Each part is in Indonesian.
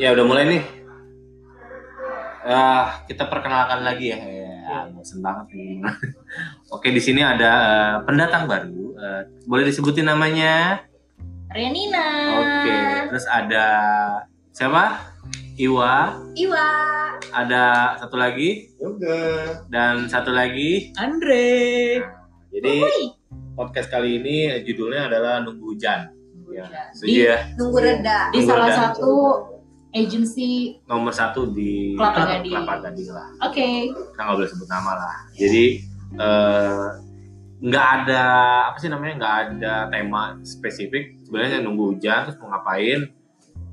Ya udah mulai nih. Ah, kita perkenalkan lagi ya. Ya, bosen banget nih. Oke, di sini ada eh, pendatang baru. Eh, boleh disebutin namanya? Renina. Oke. Terus ada siapa? Iwa. Iwa. Ada satu lagi Ya Yoga. dan satu lagi. Andre. Jadi podcast kali ini eh, judulnya adalah nunggu hujan. Ya, setuju Di- ya. Nunggu reda. Di Nunggu salah reda. satu agensi. Nomor satu di Kelapa Gading. Kelapa Gading lah. Oke. kita nggak boleh sebut nama lah jadi eh, nggak ada apa sih namanya nggak ada tema spesifik sebenarnya nunggu hujan terus mau ngapain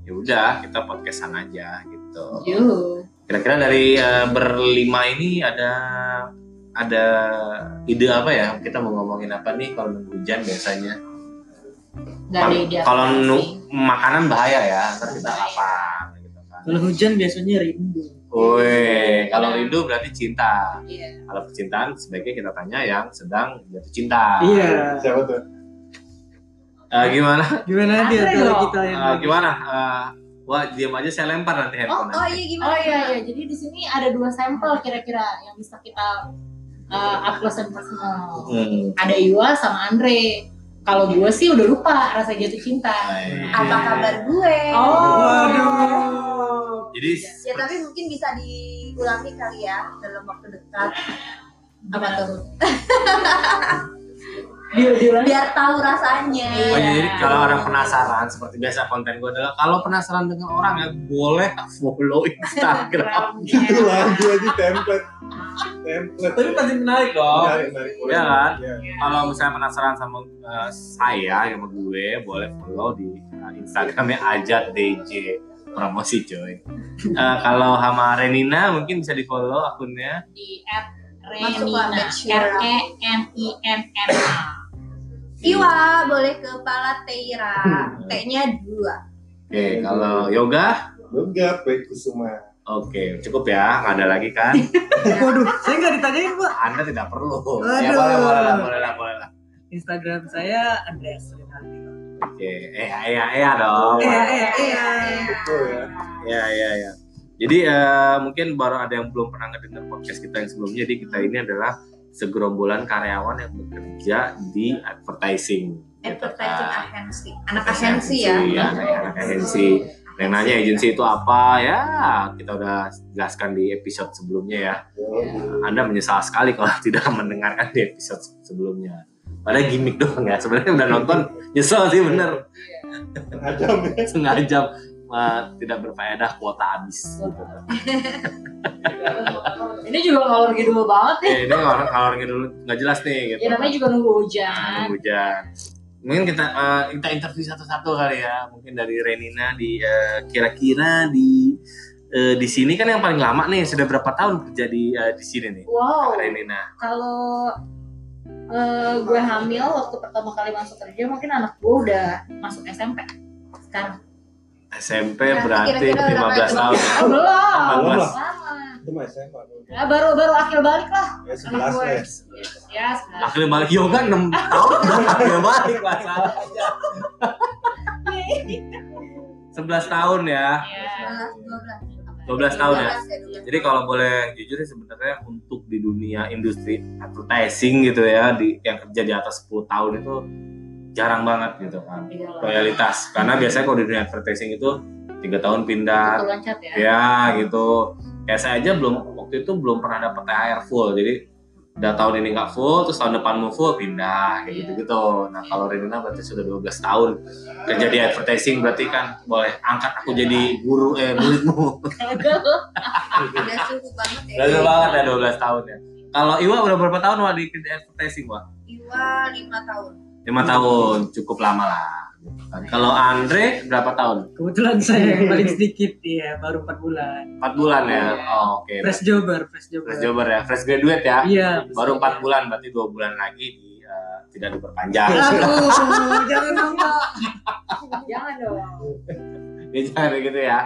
ya udah kita podcastan aja gitu Yuh. kira-kira dari eh, berlima ini ada ada ide apa ya kita mau ngomongin apa nih kalau nunggu hujan biasanya Gak ada Ma- ide. kalau apa-apa nu- sih. makanan bahaya ya ntar kita Bahaya. lapar gitu kan Kalau hujan biasanya rindu. Woi, kalau rindu berarti cinta. Iya. kalau percintaan sebaiknya kita tanya yang sedang jatuh cinta. Iya. Siapa tuh? Eh, gimana? Gimana Andre dia kalau dong. kita yang Eh, gimana? Eh, wah, diam aja saya lempar nanti Oh, handphone. oh iya gimana? Oh iya iya. Jadi di sini ada dua sampel kira-kira yang bisa kita uh, upload and personal. Hmm. Ada Iwa sama Andre. Kalau gue sih udah lupa rasa jatuh cinta. baik. Apa kabar gue? Oh. Waduh. Jadi Ya tapi mungkin bisa diulangi kali ya dalam waktu dekat. Oh, Apa tuh? Dia dia Biar tahu rasanya. Oh, Iya. jadi kalau orang penasaran seperti biasa konten gue adalah kalau penasaran dengan orang ya boleh follow Instagram. Itu lagi lagi template. Template. Iya. Tapi pasti menarik dong. Menarik, menarik. boleh. Iya kan? Iya. Kalau misalnya penasaran sama eh, saya sama gue, boleh follow di eh, Instagramnya Ajat DJ promosi coy. Eh, kalau sama Renina mungkin bisa di follow akunnya. di at Masuk Renina. warnet R Syura. E N I N N A. Iwa boleh ke Palateira. Hmm. T-nya dua. Oke, kalau yoga, Yoga P. Kusuma. oke cukup ya, nggak ada lagi kan? Waduh, saya nggak ditanyain pak. Anda tidak perlu. Ya Aduh. boleh, boleh lah, boleh lah, boleh lah. Instagram saya Andreas Renardi. Oke, eh, eh, eh, dong. Iya, iya, iya. Betul ya. Ya, ya, ya. Jadi eh, mungkin baru ada yang belum pernah ngedengar podcast kita yang sebelumnya. Jadi kita ini adalah segerombolan karyawan yang bekerja di advertising. gitu Advertising kan. agency. Anak agensi ya. Iya, anak agensi. Nah, yang nanya agensi itu apa ya? Kita udah jelaskan di episode sebelumnya ya. Yoga. Anda menyesal sekali kalau tidak mendengarkan di episode sebelumnya. Padahal gimmick doang ya. Sebenarnya udah nonton nyesel sih bener. Iya. Setengah jam ya. Sengaja eh, tidak berfaedah kuota habis. Gitu. Ini juga ngalor ngidul banget nih. Eh, ini kalau kalau dulu nggak jelas nih gitu. Ya namanya juga kan. nunggu Nah, hujan. hujan. Mungkin kita eh, kita interview satu-satu kali ya. Mungkin dari Renina di eh, kira-kira di eh, di sini kan yang paling lama nih sudah berapa tahun kerja di eh, di sini nih. Wow. Renina. Kalau eh, gue hamil waktu pertama kali masuk kerja mungkin anak gue udah masuk SMP sekarang. SMP Iya, Berarti berarti kira-kira 15 berapa itu? tahun. ya. Oh, belum. Belum lah. Lama. Itu mah SMA. Ya, baru baru akhir balik lah. Ya, sebelas Anak gue. lah. Ya, sebenarnya. Akhirnya balik yoga 6 tahun dong akhirnya balik masalah. 11 tahun ya. Ya. 12, 12 tahun ya. 12, Jadi kalau boleh jujur sih sebenarnya untuk di dunia industri advertising gitu ya di yang kerja di atas 10 tahun itu jarang banget gitu kan Iyalah. loyalitas karena biasanya kalau di dunia advertising itu tiga tahun pindah Betul loncat ya. ya gitu kayak saya aja belum waktu itu belum pernah dapet THR full jadi udah tahun ini nggak full terus tahun depan mau full pindah kayak Iya. gitu gitu nah kalau Renina berarti sudah 12 tahun kerja di advertising berarti kan boleh angkat aku jadi guru eh muridmu Udah cukup banget ya. Berasa banget ya 12 tahun ya. Kalau Iwa udah berapa tahun Wak di kerja advertising Wak? Iwa 5 tahun. 5 tahun, cukup lama lah. Kalau Andre berapa tahun? Kebetulan saya yang paling sedikit ya, baru 4 bulan. 4 bulan ya. Oh, Oke. Fresh jobber, fresh Fresh jobber. jobber ya, fresh graduate ya. Iya. Baru 4 bulan berarti 2 bulan lagi di, eh, tidak Iya, diperpanjang. Aduh, jangan dong Pak. Jangan dong. gitu Ya, jangan gitu ya.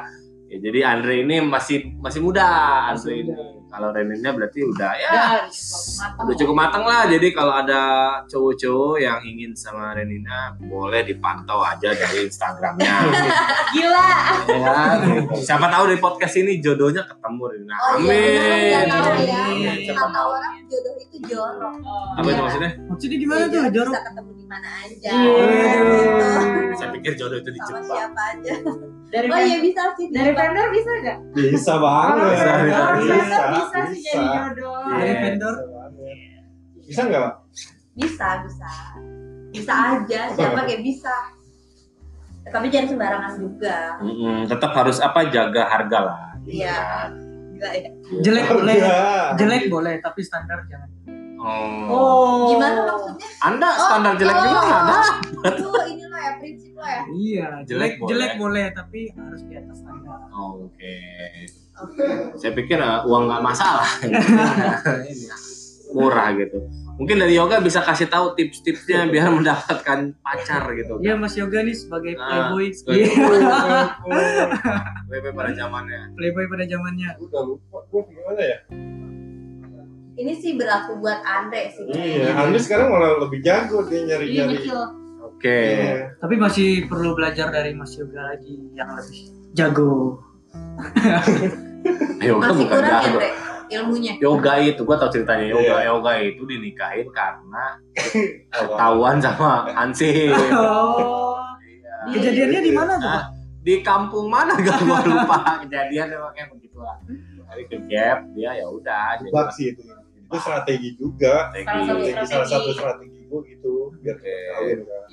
Ya, jadi Andre ini masih masih muda Andre ini. Kalau reninnya berarti udah ya Udah, matang. udah cukup matang lah. Jadi kalau ada cowok-cowok yang ingin sama Renina boleh dipantau aja dari Instagramnya. Gila. ya, gitu. Siapa tahu dari podcast ini jodohnya ketemu Renina. Oh, iya, Amin. benar, benar, benar, ya. Siapa Kata tahu. orang jodoh itu jorok. Apa Iya. itu maksudnya? Maksudnya gimana tuh Jadi Iya, jorok? Bisa ketemu di mana aja. Iya. gitu. Saya pikir jodoh itu Sama dijebak. siapa aja. Dari Oh ven- iya bisa sih. dari bisa. vendor bisa gak? Bisa banget. Bisa, bisa, Orang bisa, vendor bisa sih jadi jodoh. Iya. Dari vendor? Bisa banget. Bisa nggak, Pak? Bisa bisa. Bisa aja. Siapa kayak bisa. Tapi jangan sembarangan juga. Mm-mm, tetap harus apa jaga harga lah. gitu Iya. kan. Gila ya. Jelek boleh. Iya. Harga. Jelek boleh, tapi standar jangan. Oh. Oh. Gimana maksudnya? Anda standar jelek oh, gimana? Anda? Itu ini lo ya prinsip lo ya. Iya, Jelek jelek boleh. jelek boleh, tapi harus di atas standar. Oh, Oke. Oke. Saya pikir uh, uang nggak masalah. Ini Murah gitu. Mungkin dari yoga bisa kasih tahu tips-tipsnya biar mendapatkan pacar gitu. Iya, Mas Yoga nih sebagai Ah, playboy, sebagai Iya, WP pada zamannya. playboy pada zamannya. Udah lupa gue gimana ya? Ini sih berlaku buat Andre sih. Iya, Andre sekarang malah lebih jago dia Iya nyari-nyari. betul. Oke. Iya. Tapi masih perlu belajar dari Mas Yoga lagi yang lebih jago. Yoga Masih bukan kurang ya, jago. Andre? Ilmunya. Yoga itu, gua tau ceritanya yoga. Yoga itu dinikahin karena ketahuan sama Iya. Iya. Hansip. Oh. Kejadiannya di mana tuh, Pak? di kampung mana gak gua lupa kejadian emang kayak begitu lah dari ke gap dia ya udah jadi Bak sih itu. Itu strategi juga. Salah satu Strategi salah satu strategi. strategi gue gitu biar Oke. ketahuin kan.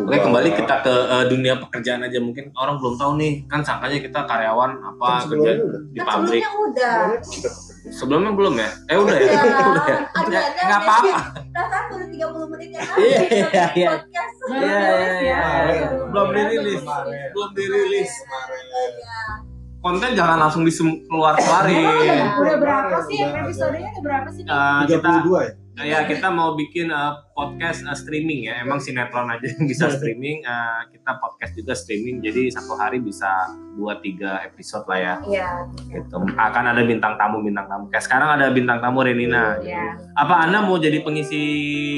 Oke kembali kita ke eh, dunia pekerjaan aja mungkin orang belum tahu nih kan sangkanya kita karyawan apa Kan kerja sebelumnya udah. di Kan pabrik sebelumnya udah. Sebelumnya udah. sebelumnya belum ya eh udah Iya. ya Udah. udah ya Ya, Ada- ada- nggak apa-apa Perasaan kan, baru 30 menit yang Iya, lalu. iya, iya. Podcast. Baru Iya, rilis iya, iya. belum dirilis Kemarin. belum dirilis Kemarin. Iya. konten jangan langsung dikeluar Emang Iya. keluarin udah, udah berapa sih Udah, udah. episodenya udah berapa sih? nih? Eh, kita 32 ya? Nah, ya kita mau bikin eh, podcast eh, streaming ya. Emang sinetron aja yang bisa streaming. eh, kita podcast juga streaming. Jadi satu hari bisa dua tiga episode lah ya. Iya. Gitu. Akan ada bintang tamu bintang tamu. Kayak sekarang ada bintang tamu Renina. Iya. Apa Anda mau jadi pengisi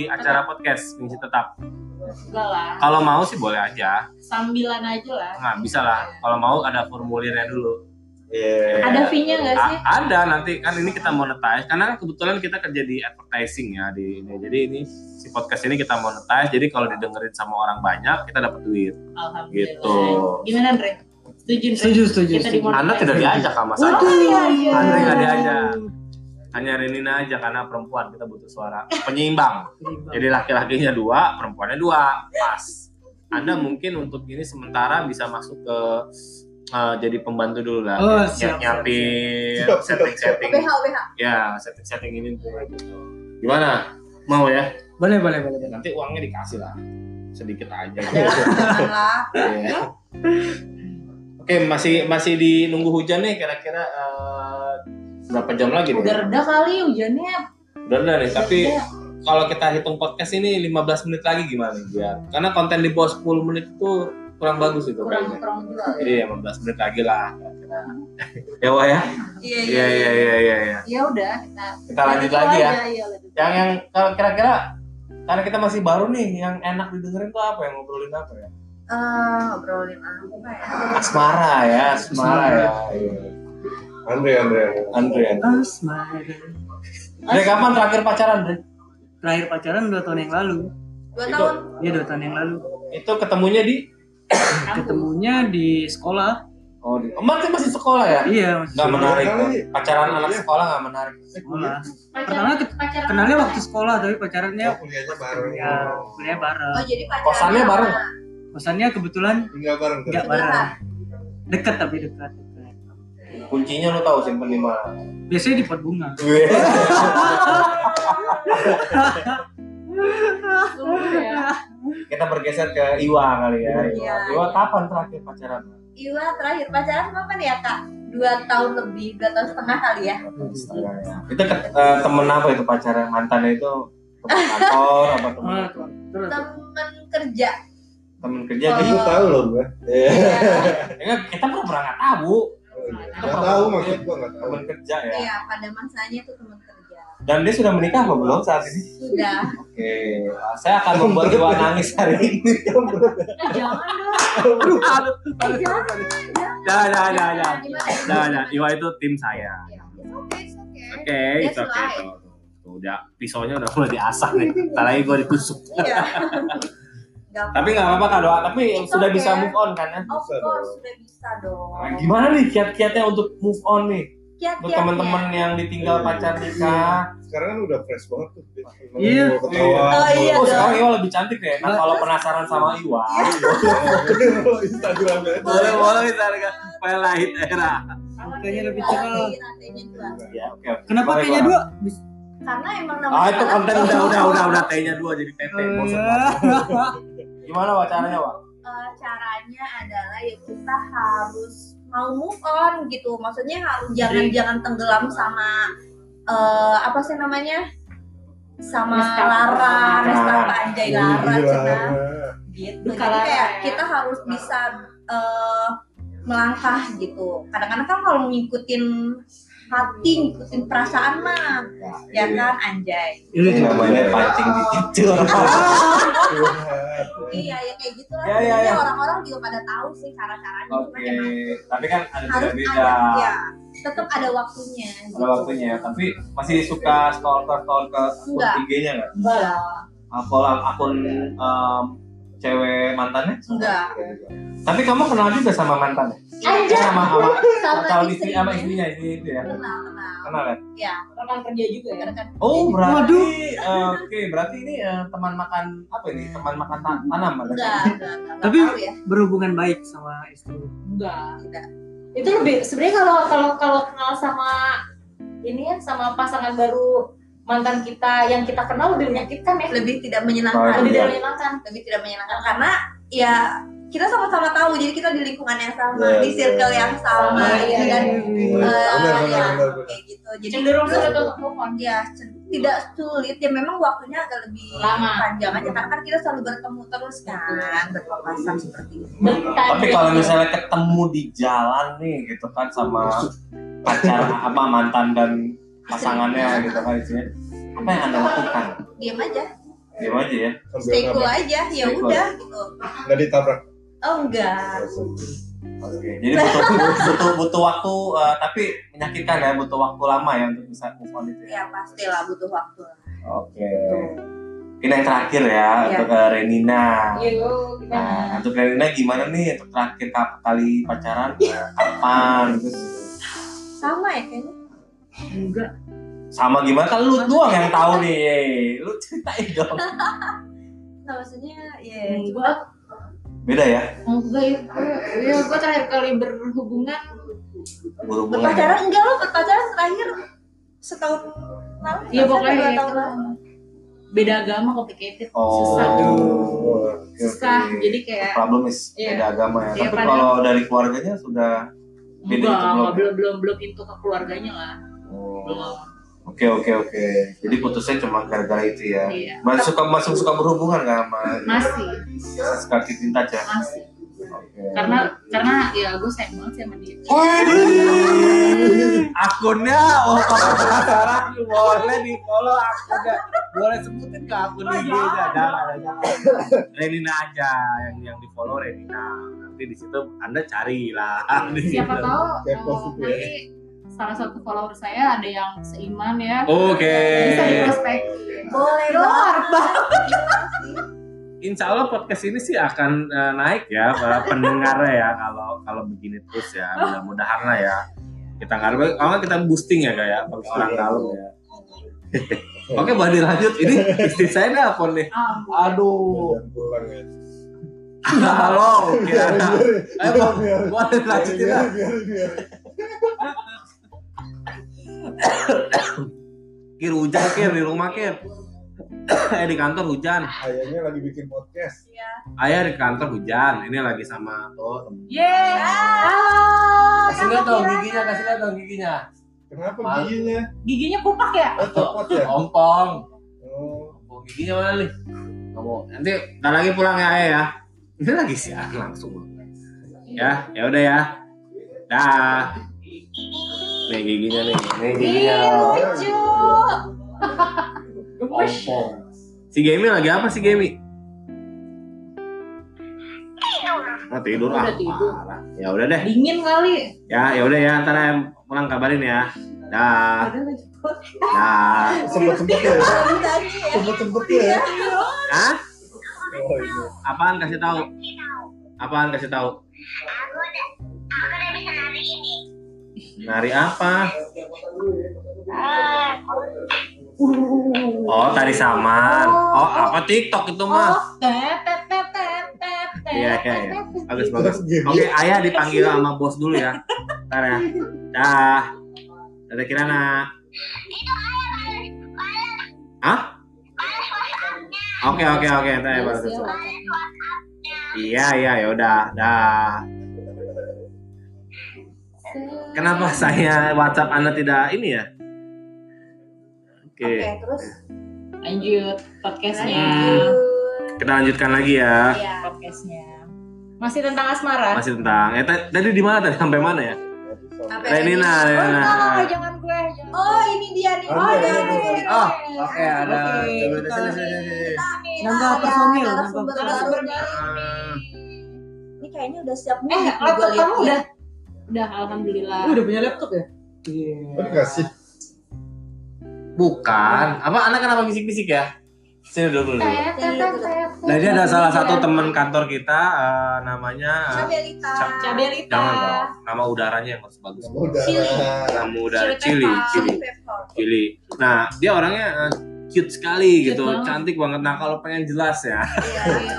acara podcast pengisi tetap? Enggak lah. Kalau mau sih boleh aja. Sambilan aja lah. Nggak bisa lah. Kalau mau ada formulirnya dulu. Iya. Ada fee-nya nggak sih? A- ada nanti kan ini kita monetize karena kan kebetulan kita kerja di advertising ya di ini. Jadi ini si podcast ini kita monetize. Jadi kalau didengerin sama orang banyak kita dapat duit. Alhamdulillah. Gitu. Gimana Andre? Setuju Andre? Setuju, setuju, Kita setuju. dimulai. Anda tidak diajak sama saya. Waduh. Iya, Andre nggak diajak. Hanya Renina aja karena perempuan kita butuh suara penyeimbang. Jadi laki-lakinya dua, perempuannya dua, pas. Anda mungkin untuk ini sementara bisa masuk ke eh, jadi pembantu dulu lah. Oh, Nyiap- siap, siap, nyiapin siap. Siap, siap, siap. setting-setting. BH, BH. Ya, setting-setting ini tuh. Gimana? Mau ya? Boleh, boleh, boleh. Ya, boleh. nanti uangnya dikasih lah sedikit aja Ya. Adalah katakanlah. Iya. oke masih masih di nunggu hujan nih kira-kira eh, berapa jam lagi nih Udah reda kali hujannya. udah reda nih tapi Udah. kalau kita hitung podcast ini 15 menit lagi gimana nih, biar karena konten di bawah 10 menit itu kurang bagus itu kurang kayaknya kurang juga. jadi 15 menit lagi lah kira-kira. ya wah ya Iya, iya iya iya iya ya. Ya udah kita kita lanjut lagi ya Iya, lanjut. yang yang kalau kira-kira karena kita masih baru nih yang enak didengerin tuh apa yang ngobrolin apa ya Eh, ngobrolin apa ya? asmara ya asmara ya Iya. Andre, Andre. Andre Andre. Oh, smile. Andre kapan terakhir pacaran Andre Terakhir pacaran dua tahun yang lalu. Dua Itu- tahun. Iya, dua tahun yang lalu. itu ketemunya di Ketemunya di sekolah. oh di Emang kan masih sekolah ya Iya, masih nggak menarik Iya. kan? pacaran anak Iya. sekolah nggak menarik sekolah. Pacaran Pertama ket- pacaran kenalnya apa? waktu sekolah, tapi pacarannya Oh, kuliahnya bareng. ya kuliah Oh, bareng. jadi pacaran. Kosannya bareng nggak? Kosannya kebetulan Tinggal bareng. kan? Iya. nggak bareng. Dekat tapi dekat. dekat. kuncinya lu tahu simpen di mana Biasanya di pot bunga. Iya. kita bergeser ke Iwa kali ya Iwa, Iya. Iwa kapan terakhir pacaran Iwa Iya, terakhir pacaran kapan ya, Kak? Dua tahun lebih, dua tahun setengah kali ya. Setengah ya. itu ke, eh, temen apa itu pacaran mantannya itu teman kantor apa teman Ah, Oh. terus. Temen kerja. teman kerja Oh. di Lu tahu loh gue. Iya. Ya, kita pernah kan nggak tahu Gak tahu maksud gua gak tahu. teman kerja ya Iya, pada masanya itu teman kerja. dan dia sudah menikah apa belum saat ini Sudah. oke saya akan membuat Iwa nangis hari ini Eh, jangan dong. aduh aduh Eh, jangan, Iya. Dah, dah, nah, dah, dah. Gimana? Nah, nah, Iwa itu tim saya. Iya, it's okay, it's okay. Oke, it's That's okay. right. Tuh, tuh, tuh, udah pisaunya udah mulai diasah nih. Entar lagi gua ditusuk. Iya. Gak tapi nggak apa-apa kak doa tapi It's sudah okay. bisa move on kan ya Of course, sudah bisa dong. Nah, gimana nih kiat-kiatnya untuk move on nih Kiat-kiatnya. buat teman-teman ya. yang ditinggal Iya. pacar nikah Sekarang kan udah fresh banget tuh. Iya. Mau Ketawa. Oh, iya oh dong. sekarang Iwa lebih cantik ya nah kalau penasaran sama Iwa Follow Instagramnya aja. Boleh, boleh kita harga pelahit era. Kayaknya gitu. lebih Rantainya cekal. dua, rantainya dua. ya oke oke. Kenapa Boleh, kayaknya Iwa. dua? Karena emang namanya ah itu konten udah udah udah udah T-nya dua jadi TT. bosen. Eh. gimana Wak caranya Wak Eh, caranya adalah ya kita harus mau move on gitu maksudnya harus jangan jangan tenggelam sama eh, apa sih namanya sama Nestapa. lara nestapa anjay lara cina gitu Duka jadi lara, kayak ya. kita harus bisa eh, melangkah gitu kadang-kadang kan kalau ngikutin hati ngikutin perasaan mah ya Iya. kan anjay Iya, Ini namanya pancing dikicil. iya ya kayak gitu lah Ya, ya, Sebenarnya ya. orang-orang juga pada tahu sih cara-caranya cuma Oke, emang tapi kan ada harus Iya, beda-beda. ada ya tetap ada waktunya gitu. Ada waktunya, ya. tapi masih suka stalker stalker akun Enggak. IG-nya nggak? enggak Akun akun em, cewek mantannya? enggak Tapi kamu kenal juga sama mantannya? Iya. Ada. Sama sama sama calon istri istri sama istrinya istri itu ya? kenal kenal kan Kenal ya? ya Rekan kerja juga ya. rekan Oh kerja. berarti, Waduh. eh, oke berarti ini eh, teman makan apa ini? Teman makan ta- tanam berarti? enggak enggak enggak Tapi- tahu ya Berhubungan baik sama istri. Enggak. enggak Itu lebih sebenarnya kalau kalau kalau kenal sama ini ya sama pasangan baru mantan kita yang kita kenal lebih menyakitkan ya. lebih tidak menyenangkan Baik. Lebih Iya. dari menyenangkan. lebih tidak menyenangkan karena ya kita sama-sama tahu jadi kita di lingkungan yang sama Iya, di circle iya. yang sama Nah, Iya, ya kan iya. Eh, Benar, benar, ya, benar, benar. kayak gitu iya. jadi Cenderung terus- sulit untuk move on. ya cen- tidak sulit ya memang waktunya agak lebih Lama. panjang aja karena kan kita selalu bertemu terus kan berpapasan seperti itu Bentar. Tapi kalau misalnya ketemu di jalan nih gitu kan sama pacar apa mantan dan pasangannya gitu kan isinya, apa yang anda lakukan? diam aja Diam aja ya. stay cool aja ya Stay cool. udah gitu Nggak ditabrak. oh enggak Jadi butuh butuh, butuh waktu eh, tapi menyakitkan ya butuh waktu lama ya untuk bisa move on itu ya. Iya, ya pastilah butuh waktu lah. Oke. Tuh. Ini yang terakhir ya Iya. untuk eh, Renina. Iya. Yuk, Nah, gimana? untuk Renina gimana nih untuk terakhir kap- kali pacaran kapan? Terus sama ya kayaknya Enggak. sama gimana kan lu doang yang tahu nih. Lu ceritain dong. nah, maksudnya ya Enggak, Beda ya? enggak ya. Iya, gua terakhir kali berhubungan Berhubungan. ya? berpacaran enggak lo berpacaran terakhir setahun lalu Iya, pokoknya dua ya, tahun lalu beda agama complicated, Oh. susah. Aduh. Susah. Jadi kayak problem is Iya. beda agama ya. Iya, Tapi padahal- kalau dari keluarganya sudah beda enggak, itu belum enggak, ya? belum belum belum pintu ke keluarganya lah. oh. Belum. Oke oke oke. Jadi putusnya cuma gara-gara itu ya. Iya. Masih suka masih suka berhubungan kan sama Masih, suka cinta aja. masih. Oke. Karena karena ya gue sayang banget sih sama dia. Waduh. Akunnya oh kalau penasaran boleh di follow akunnya. Boleh sebutin ke akun Oh, IG iya. nya jangan jangan. Renina aja yang yang di follow Renina. Nanti di situ Anda carilah. Di situ. Siapa tahu Kepo eh, gitu ya. nanti salah satu follower saya ada yang seiman ya. Oke. ya. Bisa di prospek. boleh Luar banget Insya Allah podcast ini sih akan eh, naik ya para pendengarnya ya kalau kalau begini terus ya mudah-mudahan lah ya kita ngarep kalau nggak kita boosting ya kayak orang dalam ya. Oke, boleh dilanjut. Ini istri saya nelfon nih. Ah, Aduh. Jangan pulang ya. Halo, kira Ayo, Bang, Biarin, boleh dilanjutin lah. biarin, biarin, biarin. Kir hujan Kir di rumah Kir. eh di kantor hujan. Ayahnya lagi bikin podcast. ya Ayah di kantor hujan. Ini lagi sama oh temen. Yeay. Kasih lihat dong giginya, kasih lihat dong giginya. Kenapa Malu. giginya? Giginya kupak ya? Oh, copot ya? Ompong. Oh, Ompong giginya mana nih? Kamu nanti ntar lagi pulang ya Ayah ya. Ini lagi siaran langsung. Ya, ya udah ya. Dah. Nih giginya nih. Nih Ih, giginya. lucu. Gemes. Ompong. Si Gemi lagi apa si Gemi? Tidur. Oh, tidur Udah ah. tidur. Parah. Ya udah deh. Dingin kali. Ya ya udah ya ntar em pulang kabarin ya. Dah. Padahal lagi kotor. Dah. sempet sempet ya Belum tadi ya. sempet sempet ya Hah? oh iya Apaan kasih tahu? Apaan kasih tahu? Nari apa? Oh, tari saman. Oh, apa TikTok itu mah? Oh, tet tet tet tet tet. tet, Iya, iya, tet, iya. tet. Bagus, bagus. terus gini Oke, ayah dipanggil sama bos dulu ya. Ntar ya. Dah. Dadah Kirana. Hah? Oke, oke, oke. Ntar ya, balas Bagus ya, WhatsApp. WhatsApp. Iya, iya, yaudah. Dah. Kenapa saya WhatsApp Anda tidak ini ya? Oke, Oke, terus Lanjut podcastnya. lanjut. kita lanjutkan lagi ya. Iya. Podcastnya. Masih tentang asmara. Masih tentang eh ta- tadi di mana tadi sampai mana ya? Apa yang ini? Renina, Oh, Renina. enggak, enggak, jangan gue. jangan. Oh, ini dia nih. Oh, Oh, iya. jangan dibilang. Oh, Oke. Oke, ada. Oke, Coba kita- sini, sini, sini. Nih, Nambah ada personil, nambah narasumber Kalau baru sumber nih. dari- Ah, Ini kayaknya udah siap nih. Eh, gua laptop kamu liat-liat. udah? Udah, alhamdulillah. Lu udah punya laptop ya? Iya. enggak sih Bukan. Apa anak kenapa bisik-bisik ya? Sini dulu dulu. Tet, tet, tet, tet. Jadi ada salah satu ya. teman kantor kita eh, namanya eh, Cabelita. Cab- Cabelita. jangan dong. Nama udaranya yang harus bagus. udah Cili. Nama udara Cili, Cili Pepper. Cili, Cili. Nah, dia orangnya eh, cute sekali Cute gitu, banget. cantik banget. Nah, kalau pengen jelas ya, Iya.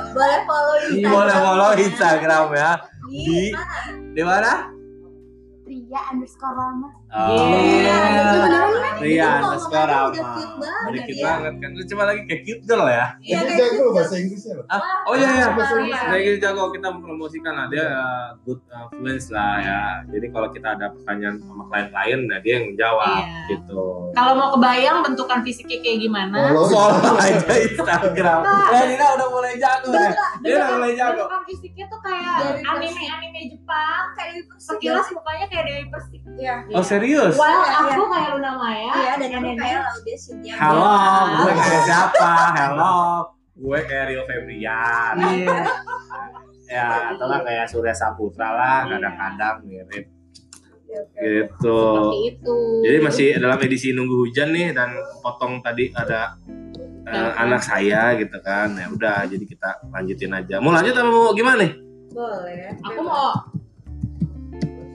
Boleh follow Instagram. Iya, boleh follow Instagram ya. Di Di- Di mana? Oh, Ria underscore Rama. Iya. Ria underscore sekarang Rama. Ada cute ya. banget kan. Lu coba lagi kayak cute girl ya. Iya, Ini kayak jago gitu. bahasa Inggrisnya loh. Ah, oh iya iya. Bahasa Iya. Inggris. Nah, ini jago kita mempromosikan lah dia uh, good influence lah ya. Jadi kalau kita ada pertanyaan sama klien-klien, nah dia yang menjawab Iya. gitu. Kalau mau kebayang bentukan fisiknya kayak Oh, gimana? Follow Follow aja Instagram. Nah. Ya, Dina udah mulai jago ya. Dia udah mulai jago. Bentukan fisiknya tuh kayak Dari anime anime Jepang. Kayak di Persik. Sekilas mukanya kayak Dewi Persik. Iya. Oh serius? Wow, Iya. Iya. aku kayak Luna Maya. Iya, dan aku kayak Laudia Cynthia. Halo, gue kayak siapa? Halo, gue kayak Rio Febrian. Iya. Iya. Ya, atau nggak kayak Surya Saputra lah, kadang-kadang mirip Oke, oke. gitu. Seperti itu. Jadi masih dalam edisi nunggu hujan nih dan potong tadi ada eh, Nah. anak saya gitu kan. Ya udah jadi kita lanjutin aja. Mau lanjut atau mau gimana nih? Boleh. Aku mau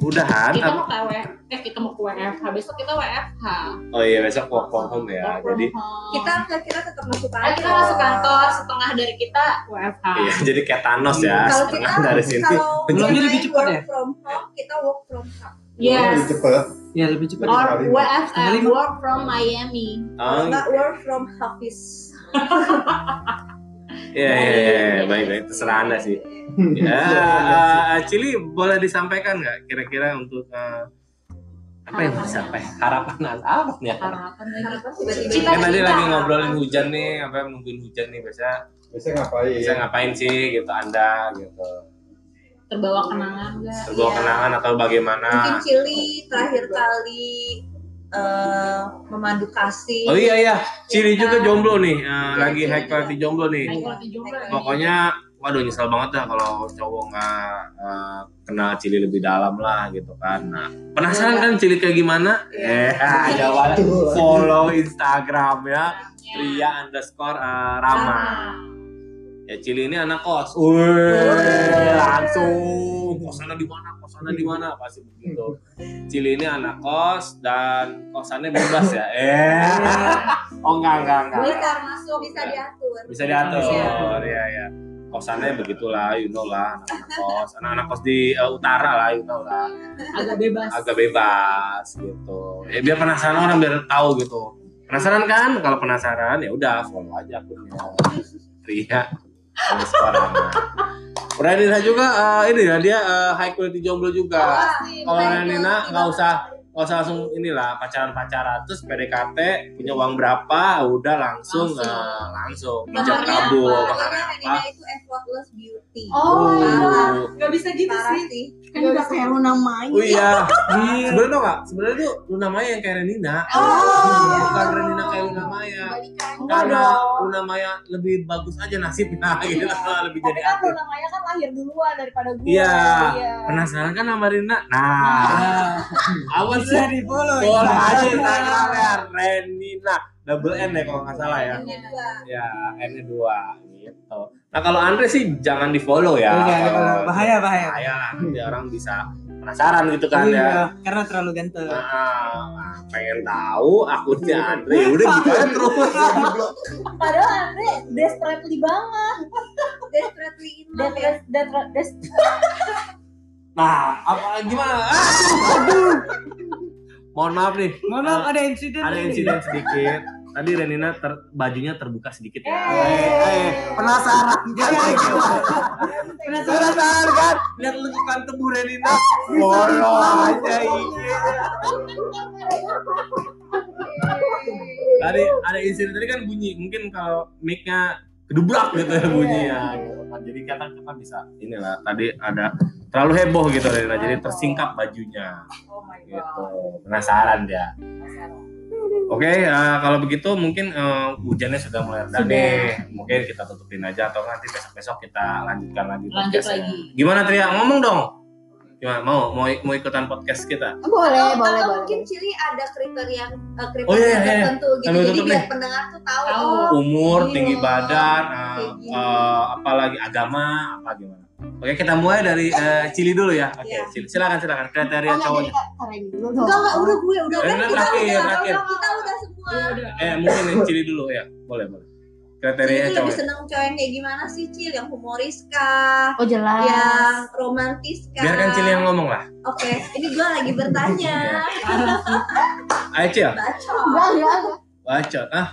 Udahan. kita apa- mau ke WF, eh kita mau ke WFH, besok kita WFH. Oh iya besok work from home ya. Work from Jadi home. Kita enggak kita tetap masuk Ayo kita masuk kantor, setengah dari kita WFH. iya, jadi kayak Thanos ya. Kalau setengah kita- dari sini. Kalau Belum jadi lebih work cepat ya? From home, kita work from Oh. home. Yes. Cepet. Iya, lebih cepat. Or Kali. WFM, Kali. work from Miami. Kalau Oh, enggak work from office. iya iya iya. baik baik terserah Anda sih. Hmm. Ya, eh, Cili boleh disampaikan nggak kira-kira untuk eh, apa yang mau disampaikan? Harapan Anda apa nih? Harapan lagi. Harapan tiba-tiba. Cita- Kan tadi Cita-cita. lagi ngobrolin hujan nih, apa nungguin hujan nih biasanya Biasanya ngapain? bisa ngapain sih gitu Anda gitu. Terbawa kenangan nggak? Terbawa Iya. kenangan atau bagaimana? Mungkin Cili terakhir kali eh memandu kasih. Oh iya iya, Cili juga jomblo nih, eh, lagi Cili hack juga. party jomblo nih. Iya. Ayo, nanti jomblo ya. Pokoknya waduh nyesel banget dah kalau cowok nggak eh, kenal Cili lebih dalam lah gitu kan. Nah, penasaran kan Cili kayak gimana? Eh, Iya. ah, jawabannya Betul. follow Instagram ya. Ria underscore eh, Rama. Ya Cili ini anak kos. Wih, langsung kosannya di mana? Kosannya di mana? Pasti begitu. Cili ini anak kos dan kosannya bebas ya. Eh, oh enggak enggak enggak. Bisa masuk, bisa diatur. Bisa diatur. Iya. Iya ya. Kosannya begitulah, you know lah, anak-anak kos, anak-anak kos di eh, utara lah, you know lah, Agak bebas. agak bebas gitu. Ya biar penasaran orang biar tahu gitu. Penasaran kan? Kalau penasaran ya udah follow aja akunnya. Ria underscore Rama. Udah Nina juga eh, ini ya dia eh, high quality jomblo juga. Kalau Renina nggak usah nggak usah langsung inilah pacaran-pacaran terus PDKT punya uang berapa udah langsung Langsung. eh, langsung, Nomornya ijab kabul apa? Nomornya apa? Karena Uh. Renina itu effort plus beauty. Oh, parah, nggak bisa iya gitu parah sih. sih. Kan udah kayak Luna Maya. Oh iya, sebenarnya tau gak? Sebenarnya tuh Luna Maya yang kayak Renina. Oh. Bukan Renina kayak Luna Maya. Enggak Karena dong. Luna Maya lebih bagus aja nasibnya gitu, lebih Tapi jadi kan aktif. Luna Maya kan lahir duluan daripada gue. Iya. Iya. Penasaran kan sama Renina? Nah, awas Bisa deh. di follow. Boleh aja Iya. Instagramnya Renina double N ya kalau nggak salah ya. Iya. Ini juga. Ya N nya dua gitu. Nah kalau Andre sih jangan di follow ya. Iya, kalau- bahaya, bahaya. Bahaya lah, nanti orang bisa penasaran gitu kan ya. Iya, karena terlalu ganteng. Nah, pengen tahu akunnya Andre ya udah gitu aja terus. Padahal Andre desperately banget. Desperately in love ya. Des- des- des- Nah, apa gimana? Aduh, aduh. Mohon maaf nih. Eh, Mohon maaf ada insiden. Ada insiden sedikit. Tadi Renina ter- bajunya terbuka sedikit ya. Eh. penasaran kan? Penasaran. Penasaran kan? Lihat lekukan tubuh Renina. iya. Bolo aja ini. Tadi ada insiden tadi kan bunyi. Mungkin kalau mic-nya kedubrak gitu ya bunyinya. Gitu kan. Jadi kata kita bisa inilah tadi ada terlalu heboh gitu Renina. Jadi tersingkap bajunya. Oh my gitu penasaran dia oke eh, kalau begitu mungkin eh, hujannya sudah mulai reda nih mungkin kita tutupin aja atau nanti besok besok kita lanjutkan lagi Lanjut podcastnya. lagi. gimana Tria ngomong dong gimana mau mau mau ikutan podcast kita Boleh, Atau- boleh, atau boleh. mungkin Cili ada kriteria eh, kriteria Oh, iya, iya, iya. tertentu gitu. Sambil Jadi tutup biar nih. pendengar tuh tahu. Tahu. oh, umur Iya. tinggi badan eh, Kayak gini. eh, apalagi agama apa gimana oke kita mulai dari eh, Cili dulu ya oke Iya. Cili silakan silakan kriteria Oh, nggak, cowoknya jadi, Kak, Karen dulu dong. Enggak, enggak, udah gue, udah, Eh, udah, kita terakhir, udah, terakhir. udah, kita udah semua. eh mungkin yang Cili dulu ya boleh boleh Cili kriteria tuh lebih cowoknya seneng cowok yang kayak gimana sih, Cil? Yang humoris kah? Oh jelas. Yang romantis kah? biarkan Cili yang ngomong lah Oke, ini gue lagi bertanya. ayo Cil Bacot. Enggak, enggak, enggak. bacot ah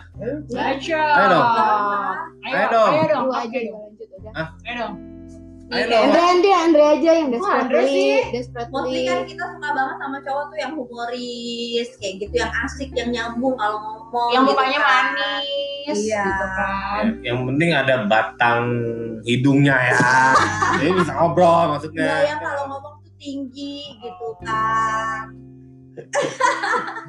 Baca. Ayo dong. Ayo, Ayo dong. Ayo dong. Dua aja Ayo dua dong. lanjut aja. Ayo dong. Iya, Ayo Andre, dong. Andre, Andre aja yang Wah, Andre desperately, sih. desperately. Mostly kan kita suka banget sama cowok tuh yang humoris, kayak gitu, yang asik, yang nyambung kalau ngomong. Yang gitu mukanya kan. manis. Iya. Gitu kan. Yang penting ada batang hidungnya ya. Jadi bisa ngobrol maksudnya. Iya, yang kalau ngomong tuh tinggi gitu kan.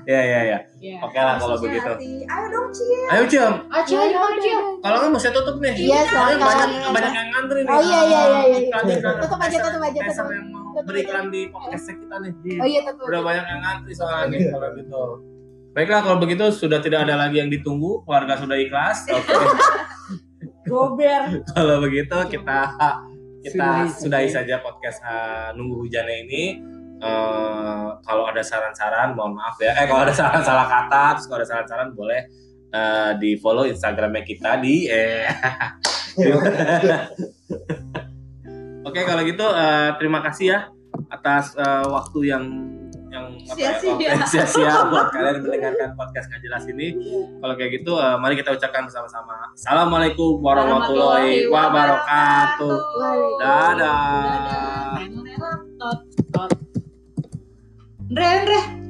Iya iya iya. Iya. Oke lah kalau begitu. Hati. Ayo dong, Cil. Ayo Cium. Oh, Cil, Ya, gimana udah, Cil? udah. Kalau nggak mau saya tutup nih. Iya, sorry, Soalnya banyak kalau- banyak yang ngantri nih. Oh, iya, iya, iya, iya, iya. Iklan- iklan- Tutup aja, tutup aja, Peser tutup. yang mau Tutup aja. beriklan di podcast kita nih. Oh iya tentu. Udah banyak yang ngantri soalnya nih kalau gitu. Baiklah kalau begitu sudah tidak ada lagi yang ditunggu, keluarga sudah ikhlas. Oke. Gober. kalau begitu kita kita Sudahi saja. sudahi saja podcast uh, nunggu hujannya ini Eh, kalau ada saran-saran mohon maaf ya eh kalau ada saran salah kata terus kalau ada saran-saran boleh eh, di follow instagramnya kita di eh oke kalau gitu eh, terima kasih ya atas eh, waktu yang yang apa ya, Sia-sia. waktu yang sia-sia buat kalian mendengarkan podcast nggak jelas ini kalau kayak gitu eh, mari kita ucapkan bersama-sama assalamualaikum warahmatullahi Warahmatullahi wabarakatuh wabarakatuh. Dadah. Dadah. Tot, tot. Andre, Andre,